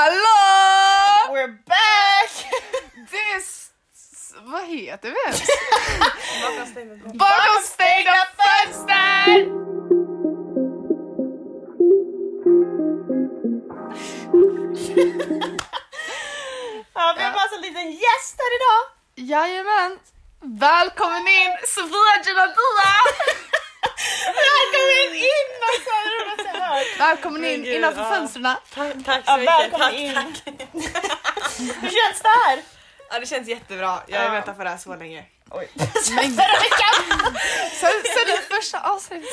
Hallå! We're back! Det är... s- s- Vad heter vi? Bakom stängda fönster! ja, vi har med oss en liten gäst här idag. Jajamän! Välkommen in Sofia Genadia! Välkommen in! Vad sa du? Vad sa jag? Välkommen in Men gud, innanför ja. fönstren. Tack, tack så Ja, mycket. välkommen tack, in. tack. Hur känns det här? Ja, det känns jättebra. Jag har Ja. väntat på det här så länge. Men- Förra veckan, Sen, sen det första avsnittet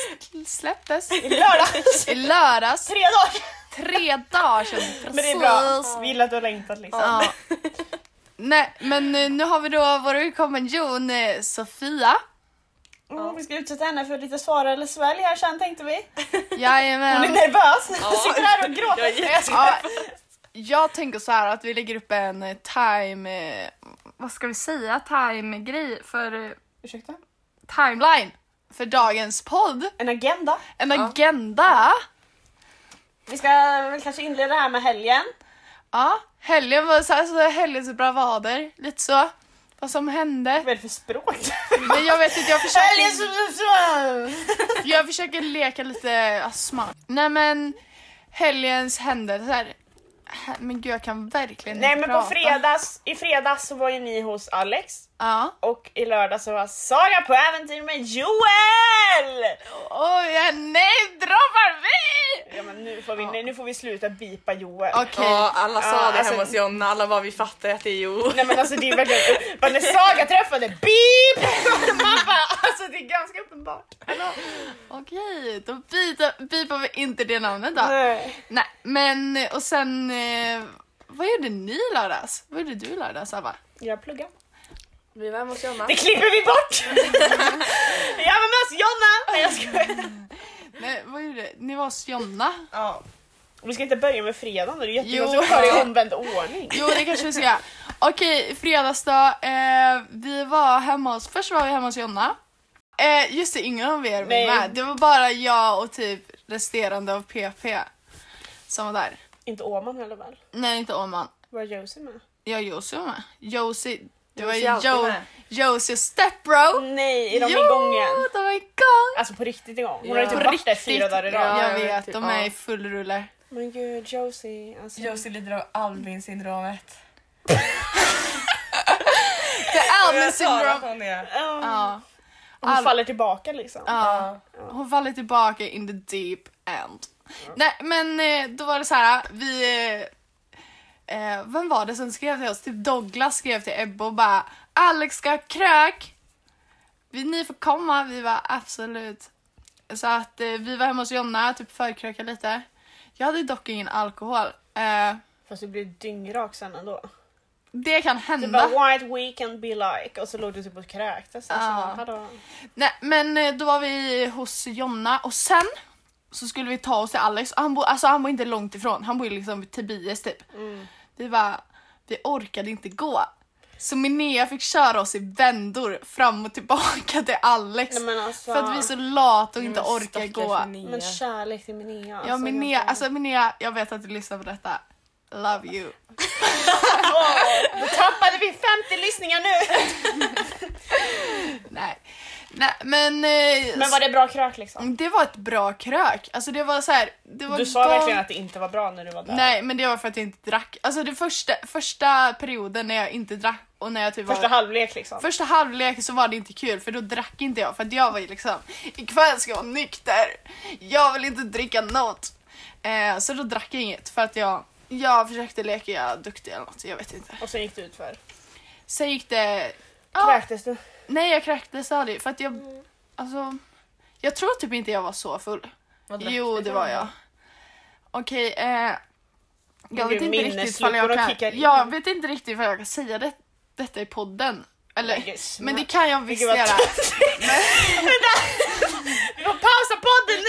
släpptes i lördags, i lördags, tre dagar. tre dagar sedan. Men det är bra, Precis. vi gillar att du har längtat liksom. Ja. Nej, men eh, nu har vi då vår kompanjon eh, Sofia. Mm, vi ska utsätta henne för lite svara eller svälj här sen tänkte vi. Hon är Jajamän. nervös, Ja. sitter här och Jag är gråter. jätte- Ja, Typ. jag tänker så här att vi lägger upp en eh, time... eh, Vad ska vi säga? Time-grej för... eh, Ursäkta? timeline för dagens podd. En agenda. En Ja. agenda. Vi ska väl kanske inleda här med helgen. Ja, helgen var så här, så här, helgens bravader, lite så. Vad som hände. Vad är det för språk? Men jag vet inte, jag försöker, Helgen jag försöker leka lite ja, smart. Nej men, helgens händelser. Hä- Men gud jag kan verkligen Nej inte men på prata. fredags, i fredags så var ju ni hos Alex Ja. och i lördags så var Sara på äventyr med Joel! Oj, ja, nej, droppar vi! Ja men nu får vi, nu får vi sluta bipa Joel. Okej. Ja, alla sa Ja, det alltså- hemma hos Jonna, alla bara vi fattar att det är Jo. Nej men alltså det är verkligen, bara när Saga träffade BIP! Man bara, alltså det är ganska uppenbart. Okej, då byter- bipar vi inte det namnet då. Nej, men och sen... Eh, vad gjorde ni i lördags? Vad gjorde du i lördags, Abba? Jag pluggar. Vi var hemma hos Jonna. Det klipper vi bort! jag var med oss Jonna! Nej jag skojar. Nej, vad gjorde ni? var hos Jonna? Ja. Vi ska inte börja med fredagen, det är Jo. ju jättekonstigt att ta det i omvänd ordning. Jo, det kanske vi ska göra. Okej, fredags då. Eh, vi var hemma hos... Först var vi hemma hos Jonna. Eh, just det, ingen av er var Nej. med. Det var bara jag och typ resterande av PP som var där. Inte Åman heller väl? Nej, inte Åman. Var Josie med? Jag och Josie var med. Josie... Det var Josie är alltid jo, med. Josie och Stepbro. Nej, är de Jo, igång igen? de är igång! Alltså på riktigt igång? Hon Ja. har ju typ På varit där fyra dagar i rad. Ja, jag jag vet, vet, typ, de är ja. i full rulle. Men gud Josie, alltså. Josie lider av Albin-syndromet. Det är Jag med sa att syndrom. hon är. Ja. Ja, Hon All- faller tillbaka liksom. ja. Hon faller tillbaka in the deep end. Nej men eh, då var det så här, vi... eh, Eh, vem var det som skrev till oss? Typ Douglas skrev till Ebba och bara Alex ska ha krök! Vill ni får komma? Vi var absolut. Så att eh, vi var hemma hos Jonna, typ förkrökade lite. Jag hade dock ingen alkohol. Eh, Fast du blir dyngrak sen ändå. det kan Du hända. bara white we can be like och så låg du typ och kräktes. Alltså, Ja. hallå. Nej men eh, då var vi hos Jonna och sen så skulle vi ta oss till Alex och han bor, alltså han bor inte långt ifrån, han bor ju liksom vid Tobias typ. Mm. Vi bara, vi orkade inte gå. Så Minea fick köra oss i vändor fram och tillbaka till Alex. Nej, men alltså. För att vi är så lata och inte Men orkar stackars gå. Linnea. Men kärlek till Minea. Ja Minea, alltså Minea, jag vet att du lyssnar på detta. Love you. Alltså- Åh, Då tappade vi 50 lyssningar nu. Nej. Nej men... eh, Men var det bra krök liksom? Det var ett bra krök. Alltså det var så här, Mm, det var Du sa verkligen gång- att det inte var bra när du var där. Nej, men det var för att jag inte drack. Alltså det första, första perioden när jag inte drack och när jag typ Första var... halvlek liksom. Första halvlek så var det inte kul för då drack inte jag för att jag var ju liksom ikväll ska jag vara nykter. Jag vill inte dricka något. Eh, så då drack jag inget för att jag, jag försökte leka jag är duktig eller något, jag vet inte. Och sen gick du ut för. Sen gick det... Ja, Kräktes du? nej, jag kräktes aldrig för att jag... Alltså, jag tror typ inte jag var så full. Vad drack Jo, du det för var någon? jag. Okej, eh, jag gud, vet inte riktigt ifall minnesluckorna jag kickar kan... in. Jag vet inte riktigt ifall jag kan säga det, detta i podden. Eller, Yes. men det kan jag visst Vilket var göra. Vi får pausa podden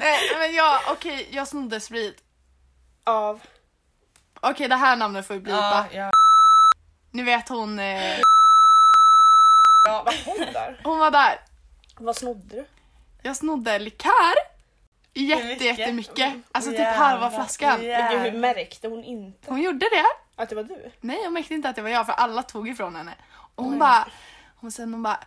Nej, men jag, okej, jag snodde sprit. Av. Okej, det här namnet får vi blipa. Ja, ja. Ni vet hon, eh, Ja, vad hon där? hon var där. Vad snodde du? Jag snodde likör. Jätte, Mycket. jättemycket. Alltså typ Jävlar. halva flaskan. Men gud, Jävlar. hur märkte hon inte Hon gjorde det. att det var du? Nej, jag mäkte inte att det var jag för alla tog ifrån henne. Och hon bara, och sen hon bara,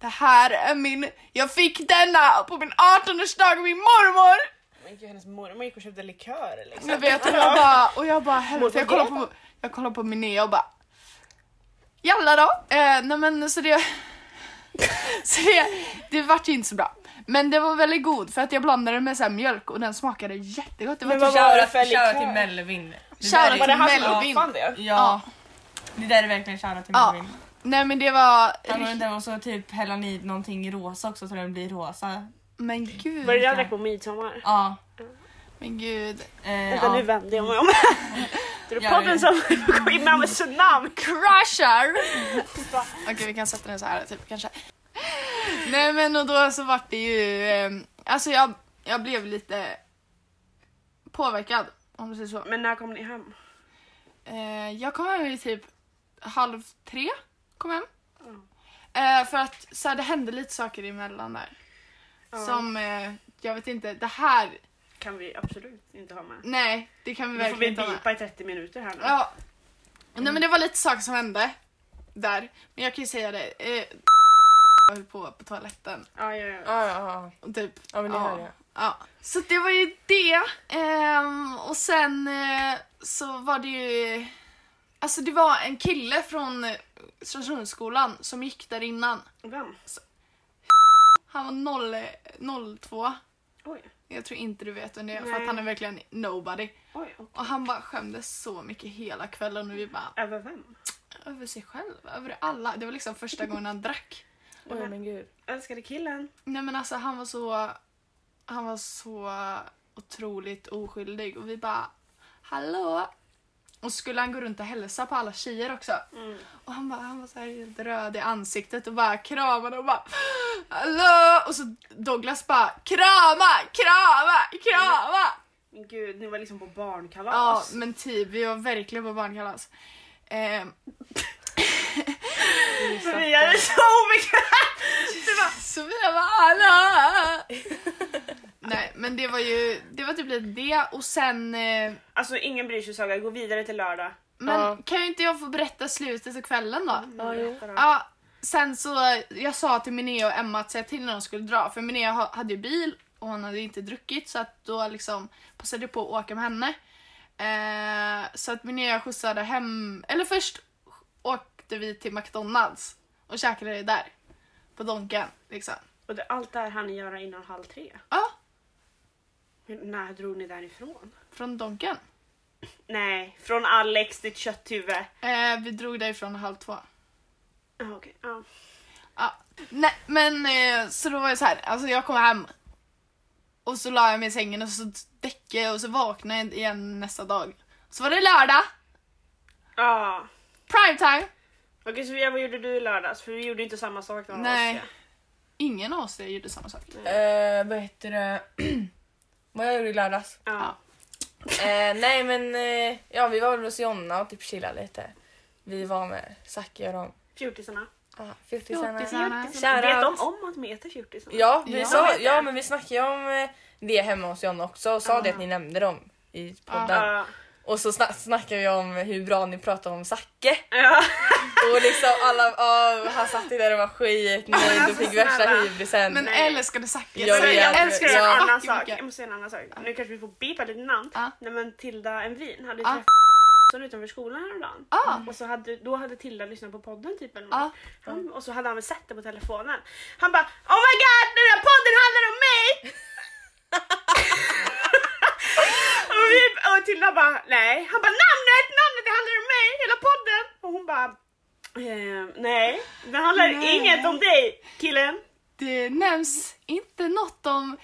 det här är min, jag fick denna på min 18-årsdag av min mormor. Men gud, hennes mormor gick och köpte likör liksom. Jag vet, och jag bara, och jag bara helvete, Mormor jag kollar på, jag kollar på Minea och bara, jalla då. Eh, nej men så det, så det, det vart ju inte så bra. Men det var väldigt god för att jag blandade med så här mjölk och den smakade jättegott. Det var Men typ, vad var det Shoutout för likör? shoutout till Melvin. Det Shoutout där är- till Var det han som Melvin. uppfann det? ja. Ja, det där är verkligen shoutout till Ja. Melvin. Nej men det var, Han har den där och så typ hälla i någonting i rosa också så den blir rosa. men gud, Var det det han drack på midsommar? Ja. men gud. Eh, Vänta nu ja. vänder jag mig om. Det är Gör podden det. som går in med tsunami. crusher! Okej vi kan sätta den så här typ kanske. Nej men och då så vart det ju, ehm, alltså jag, jag blev lite påverkad om du säger så. Men när kom ni hem? Eh, jag kom hem vid typ halv tre, kom hem. Mm. Eh, för att så här, det hände lite saker emellan där. Ja. Som, eh, jag vet inte, det här, Kan vi absolut inte ha med. nej det kan vi Nu får vi verkligen inte ha med. bipa i 30 minuter här nu. Ja. Nej men det var lite saker som hände där. Men jag kan ju säga det. Eh, höll på på toaletten. Ja, ja, ja. Ja, ja, Och Typ. ja. men det hör jag. ja. Så det var ju det. Ehm, och sen eh, så var det ju... Alltså det var en kille från eh, Strömsundsskolan som gick där innan. Vem? Han var noll, eh, 02. Oj, Jag tror inte du vet vem det är för att Nej. han är verkligen nobody. oj. oj. Och han bara skämdes så mycket hela kvällen och vi bara Över vem? Över sig själv, över alla. Det var liksom första gången han drack. Oj men gud. Älskade killen? Nej men alltså han var så, han var så otroligt oskyldig och vi bara hallå? Och skulle han gå runt och hälsa på alla tjejer också. Mm. Och han, bara, han var så här helt röd i ansiktet och bara kramade och bara hallå? Och så Douglas bara krama, krama, krama. Men gud, ni var liksom på Ja barnkalas. men typ vi var verkligen på barnkalas. Ehm, Vi är så obekvämt! Sofia bara alla! Nej men det var ju, det var typ lite det och sen eh, Alltså ingen bryr sig Saga, gå vidare till lördag. Men Ja. kan ju inte jag få berätta slutet av kvällen då? Ja, jo. Berätta då. Ja, sen så eh, jag sa till Minea och Emma att säga till när de skulle dra för Minea ha- hade ju bil och hon hade inte druckit så att då liksom passade jag på att åka med henne. Eh, så att Minea skjutsade hem, eller först åkte vi till McDonalds och käkade det där. På Donken liksom. Och det, allt det här hann ni göra innan halv tre. Ja, Hur, när drog ni därifrån? från Donken. Nej, från Alex ditt kötthuvud. Eh, vi drog därifrån halv två. Ah, okay. ah. Ja. Nej, men eh, så då var jag så här, alltså jag kom hem och så la jag mig i sängen och så däckade jag och så vaknade jag igen nästa dag. Så var det lördag, ah. prime time. Okej Sofia, vad gjorde du i lördags? För vi gjorde inte samma sak någon Nej. av oss. Ingen av oss gjorde samma sak. Eh, vad heter det? vad jag gjorde i lördags? Ja. Ah. Eh, nej men eh, ja, vi var väl hos Jonna och typ chillade lite. Vi var med Zacke och dem. Fjortisarna. Ah, Fjortisarna. fjortisarna. Fjortisarna. Vet de Shoutout. om att de heter fjortisarna? Ja, vi Ja. Sa, Vet ja jag. men vi snackade ju om eh, det hemma hos Jonna också och sa Ah. det att ni nämnde dem i podden. Ja. Och så sna- snackade vi om hur bra ni pratade om Zacke. Ja. Och liksom alla, oh, han satt ju där och var skitnöjd och fick värsta snälla. hybrisen. Men eh, Nej. älskade Zacke. Jag så vet. jag Ska älskade jag Ja. säga en Zacke annan mycket. sak? Jag måste säga en annan sak. Nu kanske vi får bipa lite namn. Ja. Nej men Tilda Envin hade Ja. Ah. träffat som utanför skolan häromdagen. Ja. Och så hade, då hade Tilda lyssnat på podden typ eller Ja. något. han, Och så hade han väl sett det på telefonen. Han bara Oh my god den här podden handlar om mig! och, vi, och Tilda bara nej. Han bara namnet, namnet det handlar om mig, hela podden. Och hon bara ehm, nej, det handlar Nej. inget om dig killen. Det nämns inte något om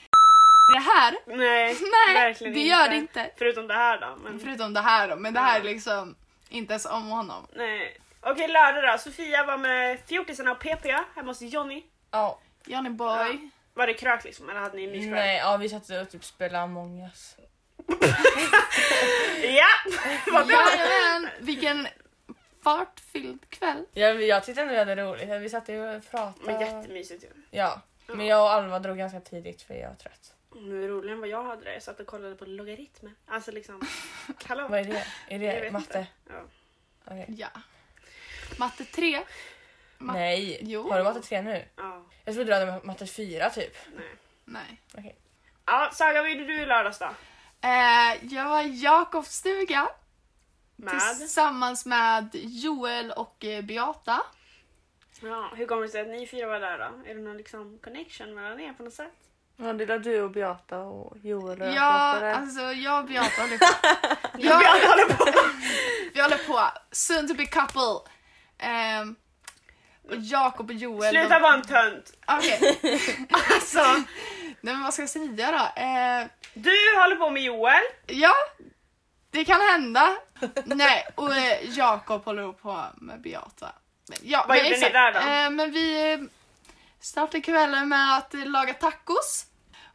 det här. Nej, Nej, verkligen det gör det inte. Mm. Förutom det här då. Men, Förutom det här då, men det här är liksom inte ens om honom. nej. Okej, lördag då. Sofia var med fjortisarna och PP hemma hos Johnny. Ja, Johnny boy. Var det krök liksom eller hade ni en myskväll? nej, ja, vi satt och typ spelade Among us. Ja! Vad bra! Jajamän, vilken fartfylld kväll. Ja, vi- jag tyckte ändå vi hade roligt. Vi satt ju och pratade. Men jättemysigt ju. Ja. Men jag och Alva drog ganska tidigt för jag var trött. Ja. Nu är roligare än vad jag hade det. Jag satt och kollade på logaritmer. Alltså liksom, hallå? Vad är det? Är Jag det vet matte? inte. Ja. Okej. Ja. Matte 3. Ma- Nej, Jo. har du matte 3 nu? ja, Jag trodde du hade matte 4 typ. nej. Nej. Okej. Ja, Saga, vad gjorde du i lördags då? Eh, jag var i Jakobs stuga Med? tillsammans med Joel och eh, Beata. Ja, hur kommer det sig att ni fyra var där då? Är det någon liksom connection mellan er på något sätt? Ja, det är där du och Beata och Joel och jag Ja, pratade. alltså jag och Beata håller på. jag, Jag håller på. vi håller på. Soon to be couple. Ehm, och Jakob och Joel. Sluta vara en tönt! de- Okej. Alltså, Nej men vad ska jag säga då? Eh, du håller på med Joel. ja, det kan hända. Nej, och eh, Jakob håller på med Beata. Men, ja, Vad men gjorde ni exakt. där då? Eh, men vi eh, startade kvällen med att eh, laga tacos.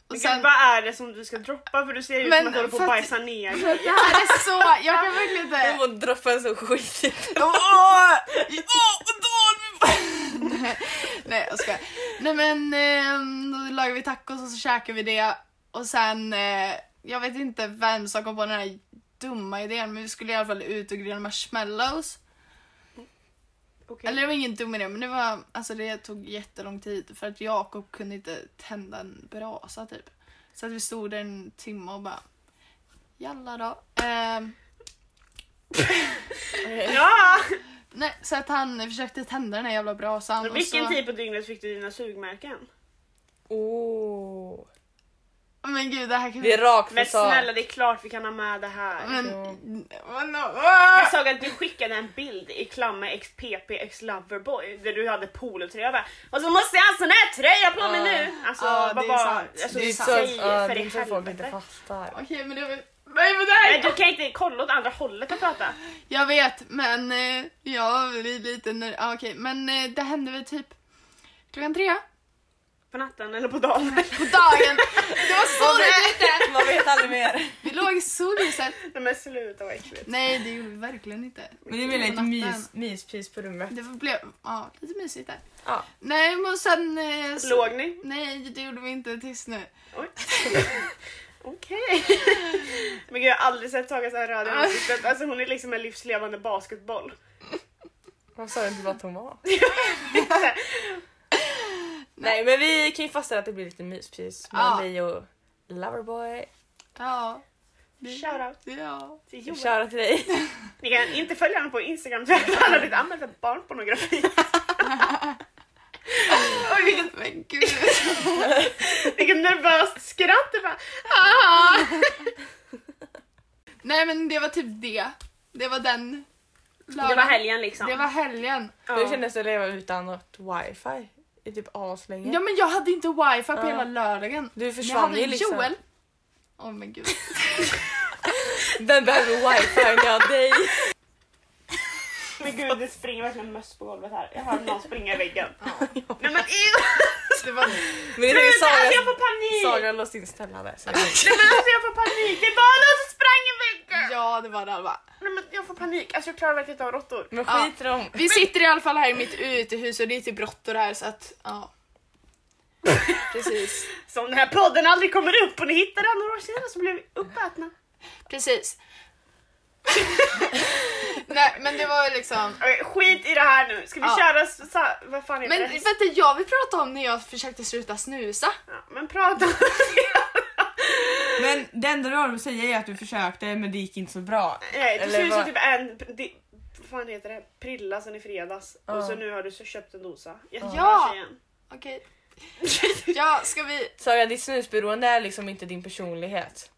Och Men Gud, vad är det som du ska droppa? För du ser ut Men som att du håller på för att att- bajsa ner. det här är så, jag kan verkligen inte... Jag mår droppen så skitigt. Åh, åh, åh, Nej, Nej jag skojar. Nej men ehm, då lagar vi tacos och så käkar vi det och sen eh, jag vet inte vem som kom på den här dumma idén men vi skulle i alla fall ut och grilla marshmallows. Okej. Eller det var ingen dum idé men det var alltså det tog jättelång tid för att Jakob kunde inte tända en brasa typ. Så att vi stod där en timme och bara jalla då. Ehm, Ja! nej, så att han försökte tända den här jävla brasan. och Vilken så... tid på dygnet fick du dina sugmärken? Oh. Men gud det här kan Det är rak Men snälla fasad. det är klart vi kan ha med det här. Men... Ja. Men- Jag såg att du skickade en bild i klammer x PP x Loverboy där du hade polotröja bara, och så måste jag ha en sån här tröja på mig Ja. nu! Alltså Ja, vad det är bara, sant. alltså, Det är säg sant. Så, ja, för det i är så folk inte helvete. fattar. Okej men det var... Nej men det här Nej, du kan inte kolla åt andra hållet och prata. Jag vet men eh, jag blir lite nöjd. Ah, Okej men eh, det hände väl typ klockan tre På natten eller på dagen. på dagen. Det var så roligt ute. Man vet aldrig mer. Vi låg i solhuset. Nej men sluta vad äckligt. Nej det gjorde vi verkligen inte. Men det blir lite Natten. mys, myspys på rummet. Det blev ja, lite mysigt där. Ja. Nej men sen... Eh, så- Låg ni? Nej det gjorde vi inte tills nu. Oj. Okej. Men gud jag har aldrig sett Saga så här röd i ansiktet. Alltså hon är liksom en livslevande basketboll. Man sa ju inte bara att hon var. Nej men vi kan ju fastställa att det blir lite myspys med Ja. mig och Loverboy. Ja. Det- Shoutout Ja. till Joel. Shoutout till dig. Ni kan inte följa honom på Instagram för att han har blivit anmäld för barnpornografi. Oj vilket... Men gud. Vilket nervöst skratt! Det bara, Nej men det var typ det. Det var den lördagen. det var helgen liksom. Det var helgen. Hur ja. kändes det att leva utan något wifi i typ aslänge? Ja men jag hade inte wifi på Ja. hela lördagen. Du Men försvann ju liksom. Joel. Åh men gud. Vem behöver wifi när jag har dig? Men gud det springer verkligen möss på golvet här. Jag hör någon springa i väggen. Nej men ew! Det var... Men det är ju Gud, alltså jag Saga, får panik! Saga har låst in Stella där. Så. Nej men alltså jag får panik! Det var någon som sprang i väggen! Ja det var det Alva. Nej men jag får panik. Alltså jag klarar verkligen inte av råttor. Men Ja. skit i dem. Vi sitter i alla fall här i mitt utehus och det är typ råttor här så att ja. Precis. Så om den här podden aldrig kommer upp och ni hittar den några år senare så blir vi uppätna. Precis. Nej men det var ju liksom. Okej, skit i det här nu. Ska vi Ja. köra så, så, vad fan är Men det? vänta jag vill prata om när jag försökte sluta snusa. Ja, men prata. Men det enda du har att säga är att du försökte men det gick inte så bra. Nej, du Eller ser ut som vad- typ en... di- Vad fan heter det? Prilla sen i fredags. Ja. Och så nu har du så köpt en dosa. Jättebra Ja. tjejen. Okej. Ja ska vi Saga ditt snusberoende är liksom inte din personlighet.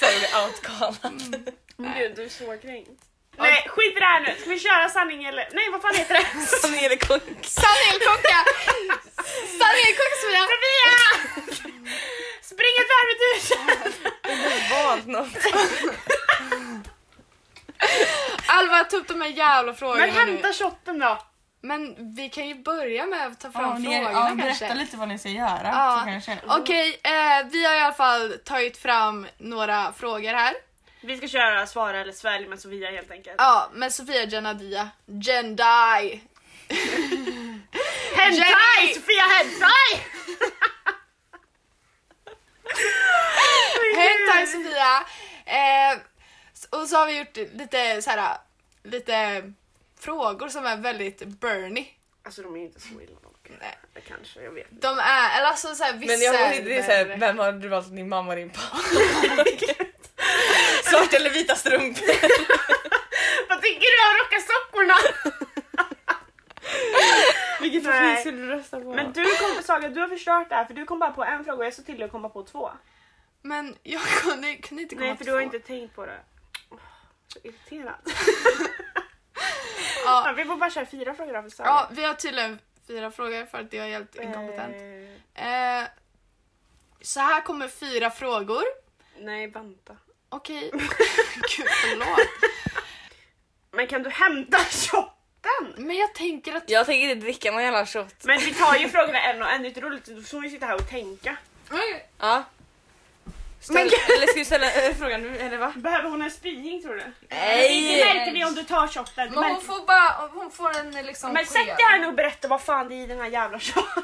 Säger vi outcallat. Men gud, du är så kränkt. Nej, skit i det här nu. Ska vi köra sanning eller... Nej, vad fan heter det? Som är det konk. Sanelkocka! Sanelkocka Sofia! Sofia! Spring ett varv i duschen! Valt något. Alva ta upp de här jävla Men frågorna hämta nu. shotten då. Men vi kan ju börja med att ta fram Ja, ni- frågorna ja, kanske. berätta lite vad ni ska göra. Ja. Så kanske. Okej, eh, vi har i alla fall tagit fram några frågor här. Vi ska köra svara eller svälj med Sofia helt enkelt. Ja, med Sofia Genadia. Gendai! Hentai! Jenny! Sofia Hentai! Hentai Sofia. Eh, s- och så har vi gjort lite så här, lite frågor som är väldigt Bernie. Alltså de är ju inte så illa dock. Nej. Det Kanske, jag vet. De är, eller alltså såhär vissa Men jag är håller inte det är såhär, värre. vem har du valt, din mamma och din pappa? Svarta eller vita strumpor? Vad tänker du? Jag rockar sockorna! Vilket Nej. parti skulle du rösta på? Men du kom, Saga, du har förstört det här för du kom bara på en fråga och jag sa till dig att komma på två. Men jag kunde, kunde inte komma Nej för du har på. inte tänkt på det. Åh, Så irriterad. Ja. Ja, vi får bara köra fyra frågor då för Saga. Ja, vi har tydligen fyra frågor för att jag är helt inkompetent. Eh, Eh, så här kommer fyra frågor. nej, vänta. Okej. Gud, förlåt. Men kan du hämta shotten? Men jag tänker att... Jag tänker inte dricka någon jävla shot. Men vi tar ju frågorna en och en, det är inte roligt. Då får vi sitta här och tänka. Ja. Ställ, Men- eller ska vi ställa eh, frågan nu eller va? Behöver hon en spying tror du? Nej! Det märker vi om du tar shotten. Men hon Märker- får bara, hon får en liksom Men sätt dig här nu och berätta vad fan det är i den här jävla shotten.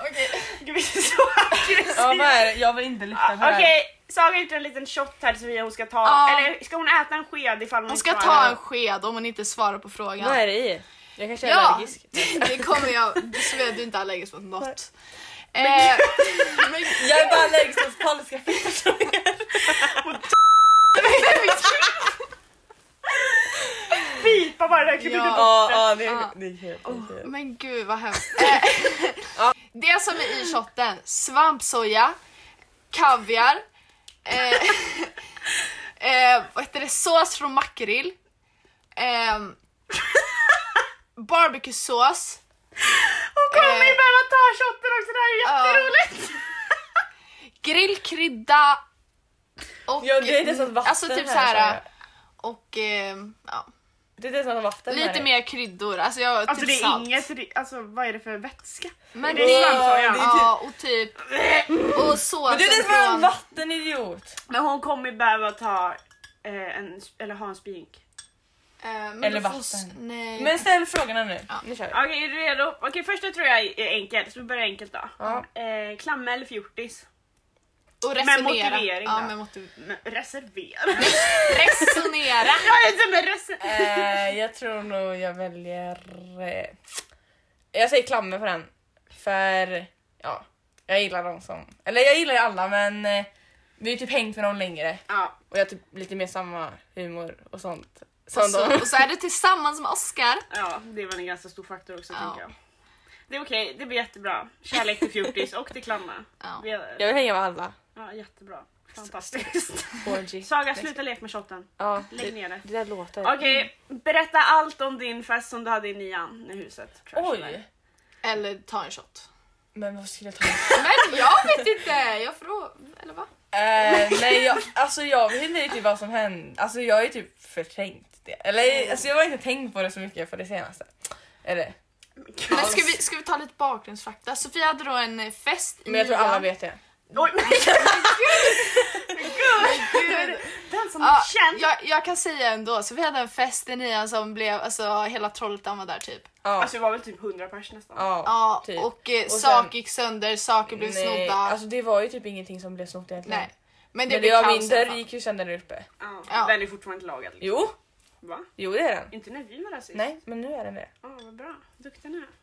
Okej. Gud vi är så aggressiva. Ja, vad är det? Jag vill inte lyfta på Ah, Okej, det här. Saga har gjort en liten shot här till Sofia hon ska ta. Ja. Eller ska hon äta en sked ifall hon Hon inte ska klarar ta det? en sked om hon inte svarar på Vad frågan. är det i? Jag kanske är Ja, allergisk. det, det kommer jag... Du vet, du är inte allergisk mot något. Eh, men, Jag är bara allergisk mot falska Pipa bara, där, klipp Ja. inte bort Ja, ja det Ja. är det är kul. det är kul. men gud vad hemskt. Eh, det som är i shotten, svampsoja, kaviar, eh, eh, vad heter det, sås från makrill, eh, barbecuesås, Hon kommer ju Eh. behöva ta shotten också, det här är Ja. jätteroligt! grillkrydda och, Ja, det är inte sånt vatten alltså typ här, så sa jag. här, och eh, ja, Det är inte sånt vatten här lite i. mer kryddor, alltså, jag, Alltså typ det är salt. inget, det- alltså vad är det för vätska? Men det är det är, svampsoja. det är typ- ja, och typ, och Men såsen du är inte från från, vatten idiot! Men hon kommer ju behöva ta eh, en, eller ha en spink. eh, men Eller du får s- vatten. Nej. Men ställ frågorna nu. Nu kör vi. Okej, är du redo? Okej, första tror jag är enkel, så vi börjar enkelt då. Ja. Eh, klamme eller fjortis? Och resonera. Med motivering ja, då. med motiv- Men reservera? Resonera. jag är inte med reser- Eh, jag tror nog jag väljer... Eh, jag säger klammer på den. För ja, jag gillar dem som... Eller jag gillar ju alla men eh, vi har ju typ hängt med dem längre Ja, och jag har typ lite mer samma humor och sånt. Som och, så, dem. och så är det tillsammans med Oscar. Ja, det är väl en ganska stor faktor också Ja. tänker jag. Det är okej, det blir jättebra. Kärlek till fjortis och till klamma. Ja. Vi är- Jag vill hänga med alla. Ja, jättebra. Fantastiskt. Orgy. Saga, sluta leka med shotten. Ja, Lägg det, ner det. det där låter. Okej, berätta allt om din fest som du hade i nian i huset. Trash eller? Oj! Eller ta en shot. Men vad skulle jag ta? Men jag vet inte! Jag frågar... Eller va? Eh, nej, jag, alltså jag vet inte riktigt vad som hände. Alltså jag är typ förträngt det. Mm. Eller alltså jag har inte tänkt på det så mycket för det senaste. Eller, Men ska vi, ska vi ta lite bakgrundsfakta? Sofia hade då en eh, fest i men jag tror alla nian. vet det. Oj, men gud! Den som har Ja, känt. jag, jag kan säga ändå, Sofia hade en fest i nian som blev, alltså hela Trollhättan var där typ. Ja. Alltså det var väl typ 100 pers nästan. ja, Ja, typ. och, eh, sen- saker gick sönder, saker blev Nej, snodda. alltså det var ju typ ingenting som blev snott egentligen. Nej. Men det Men det blev jag kaos min i alla dörr fall. gick ju sönder där uppe. Ja. Ja. Den är fortfarande inte lagad. Liksom. Jo, Va? jo det är den. Inte när vi var där sist. Nej, men nu är den det. Ja, vad bra. Duktig ni är. Alltså-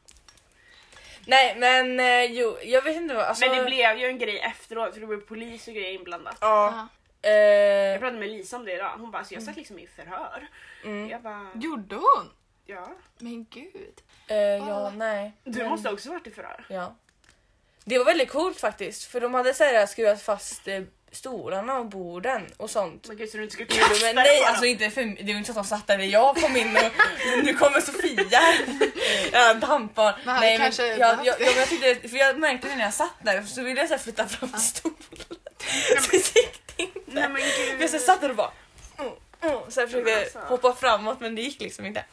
Nej men eh, jo, jag vet inte vad. Alltså, Men det blev ju en grej efteråt för det blev polis och grejer inblandat. Ja. Eh, Jag pratade med Lisa om det idag. Hon bara, så jag Mm. satt liksom i förhör. Jag bara, Gjorde hon? ja. Men gud. eh, ja, nej. Du måste också varit i förhör. Ja. Det var väldigt coolt faktiskt för de hade så här, skruvat fast eh, stolarna och borden och sånt. Men gud Oh så du inte skulle Jo, kasta Men dig nej, på alltså dem. inte för, det var ju inte så att de satt där när jag kom in och nu kommer Sofia. Ja, dampar. Men han Nej, men kanske- jag, jag, jag, men jag, tyckte, för jag märkte det när jag satt där så ville jag så här flytta fram stolen. Så det gick inte. Nej men Men jag så här gud. satt där och bara mm, mm, så jag försökte Men alltså. hoppa framåt men det gick liksom inte.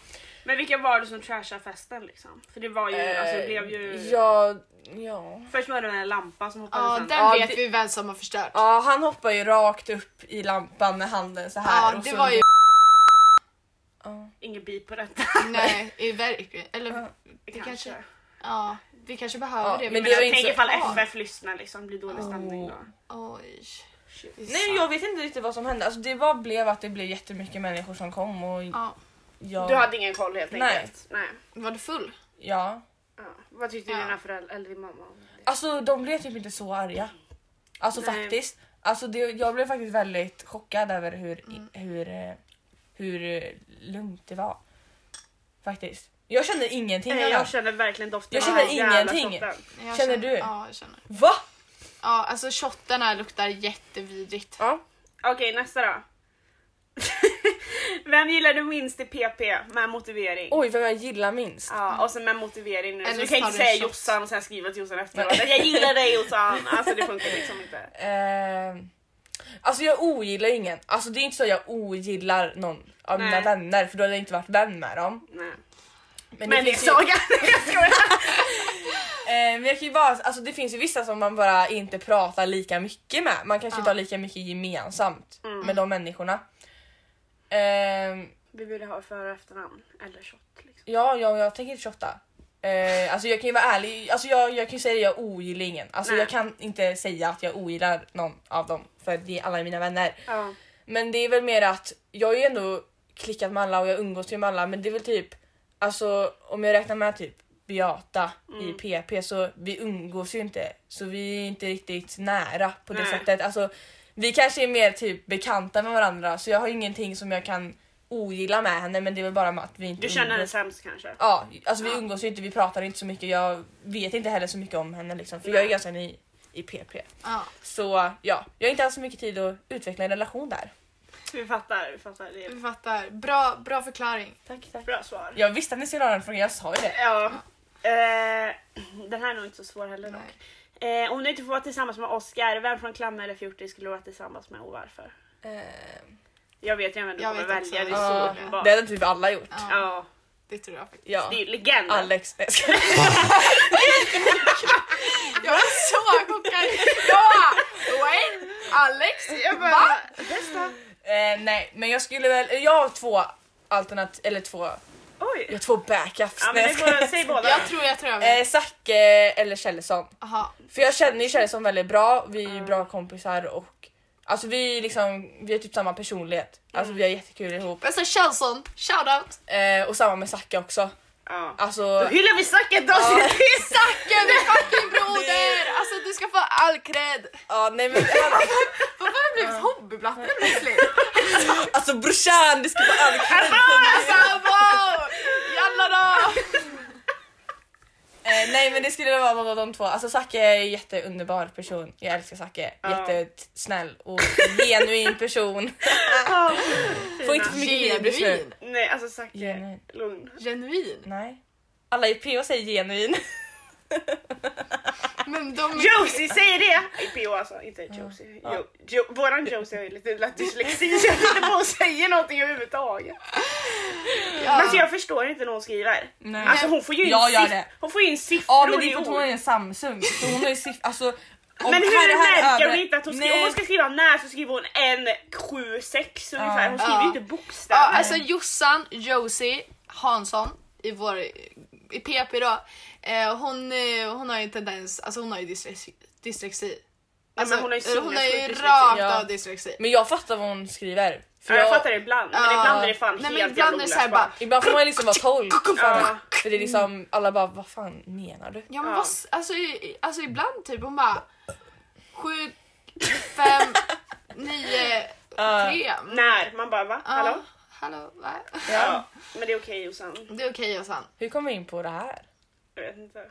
Men vilka var det som trashade festen liksom? För det var ju, alltså det blev ju... Eh, Ja, ja. Först var det den här lampan som hoppade Ja, sönder. den Ja, vet det- vi vem som har förstört. Ja, han hoppar ju rakt upp i lampan med handen så här. Ja, och det så... var ju Ingen bip på detta. Nej, i verkligen. Eller Det kanske- Ja, vi kanske behöver Ja, det. men Men det jag- var jag inte tänker så- ifall Ja. FF lyssnar liksom, blir dålig stämning då. Oj. Det är Nej sant. jag vet inte riktigt vad som hände, alltså, det bara blev att det blev jättemycket människor som kom och Ja. jag... Du hade ingen koll helt Nej. enkelt? Nej. Var du full? Ja. Ja. Vad tyckte Ja. dina föräldrar eller din mamma om det? Alltså de blev typ inte så arga. Alltså Nej. faktiskt. Alltså det, jag blev faktiskt väldigt chockad över hur, hur, eh, hur eh, lugnt det var. Faktiskt. Jag kände ingenting. Nej, jag jag känner verkligen doften. Jag av känner den jävla ingenting. sorten. Jag Känner du? Ja, jag känner. Va? Ja, alltså shotten här luktar jättevidrigt. Ja. Okej, nästa då. Vem gillar du minst i PP med motivering? Oj vem jag gillar minst. Ja, och sen med motivering nu. Så Eller du kan tar inte du en säga shot. Jossan och sen skriva till Jossan efteråt. Jag gillar dig Jossan! Alltså det funkar liksom inte. Ehm, alltså jag ogillar ingen. Alltså det är inte så att jag ogillar någon av mina Nej. vänner för då hade jag inte varit vän med dem. Nej. Men, Men det finns ju- såg jag. Jag skojar. Eh, men jag kan ju bara, alltså det finns ju vissa som man bara inte pratar lika mycket med. Man kanske inte har lika mycket gemensamt Mm. med de människorna. Ehm, Vi ville ha för och efternamn. Eller shot liksom. ja, ja, jag tänker inte shotta. Eh, alltså jag kan ju vara ärlig, alltså jag, jag kan ju säga att jag ogillar ingen. Alltså Nej. jag kan inte säga att jag ogillar någon av dem för det är alla mina vänner. Ja. Men det är väl mer att jag har ju ändå klickat med alla och jag umgås ju med alla men det är väl typ alltså om jag räknar med typ Beata Mm. i PP så vi umgås ju inte så vi är inte riktigt nära på det Nej. sättet. Alltså vi kanske är mer typ bekanta med varandra så jag har ingenting som jag kan ogilla med henne men det är väl bara med att vi inte Du känner dig umgås. sämst kanske? Mm. Ja, alltså vi Ja. umgås ju inte, vi pratar inte så mycket. Jag vet inte heller så mycket om henne liksom för jag är Nej. ganska ny i PP. Ja. Så ja, jag har inte alls så mycket tid att utveckla en relation där. Vi fattar, vi fattar. Det är Vi fattar. Bra, bra förklaring. Tack, tack. bra svar. Jag visste att ni skulle ha den frågan, jag sa ju det. Ja. Eh, den här är nog inte så svår heller dock. Nej. Eh, om du inte får vara tillsammans med Oscar, vem från Klamme eller Fjortis skulle du vara tillsammans med och varför? Jag vet ju vem du Jag kommer vet också. välja, det är Ja. så Ehm. Ja, uppenbart. det hade typ alla gjort. Ja, Ja, det tror jag faktiskt. Ja. det är ju legenden. Alex. Nej, jag skojar. Jag är så chockad! Ja! Wayne! Alex! Jag bara, Va? Bästa. eh, nej, men jag skulle väl... Jag har två alternativ... Eller två... Jag Oj. har två backups. Ja, Nej, men det jag skojar. får, säg båda. Jag tror jag tror jag vet. eh, Zacke eller Kjellson. Aha. För jag känner ju Kjellson väldigt bra, vi är ju bra kompisar och... Alltså vi är liksom, vi har typ samma personlighet. Alltså vi har jättekul ihop. Bästa Alltså, Kjellson, shoutout! Eh, och samma med Zacke också. Ja. Då Alltså... hyllar vi snacket då! Ja. Zacke min fucking broder! Alltså du ska få all cred! Ja, nej men... han- Varför har jag blivit hobbyblatte plötsligt? Alltså brorsan, du ska få överklädd! Alltså wow! Jalla då! Eh, nej men det skulle vara någon av de två. Alltså Zacke är en jätteunderbar person. Jag älskar Zacke. Ja. Jättesnäll och genuin person. Ja. Får inte för mycket hybris nu. Genuin. Nej, alltså Zacke. Genuin. Lugn. Genuin? Nej. Alla i PO säger genuin. Men de är... Josie säger det! I PO alltså, inte Josie. Ja. Jo, jo, våran Josie har ju lite lätt dyslexi så jag vet inte på att säga någonting överhuvudtaget. Men alltså jag förstår inte när hon skriver. Nej. Alltså hon får ju in, Jag gör siff- det. Hon får ju in siffror Ja men det är i för att ord. hon är en Samsung. Så hon har ju siff- alltså, om Men här- hur här märker över- hon inte att hon skriver? Nej. Om hon ska skriva när så skriver hon en, sju, sex ungefär. Hon skriver ju Ja. inte Ja, bokstäver. alltså Jossan, Josie, Hansson i vår, i PP då. Eh, hon, eh, hon har ju en tendens, alltså hon har ju dyslexi. dyslexi. Alltså, men hon har ju eh, hon har sinnessjuk ju dyslexi. rakt Ja. av dyslexi. Men jag fattar vad hon skriver. För Ja, jag jag- fattar det ibland, men Ja. ibland är det fan Nej men helt ibland är jävla det såhär bara, olösbart. Ibland får man liksom vara tolk. Ja. För det är liksom, alla bara vad fan menar du? ja men Ja. vad, s- alltså, i- i- alltså ibland typ hon bara sju, fem, nio, Ja. tre. När? Man bara va? Ja, Hallå? Hallå, va? Ja. Men det är okej Jossan. Det är okej Jossan. Hur kom vi in på det här? Jag vet inte.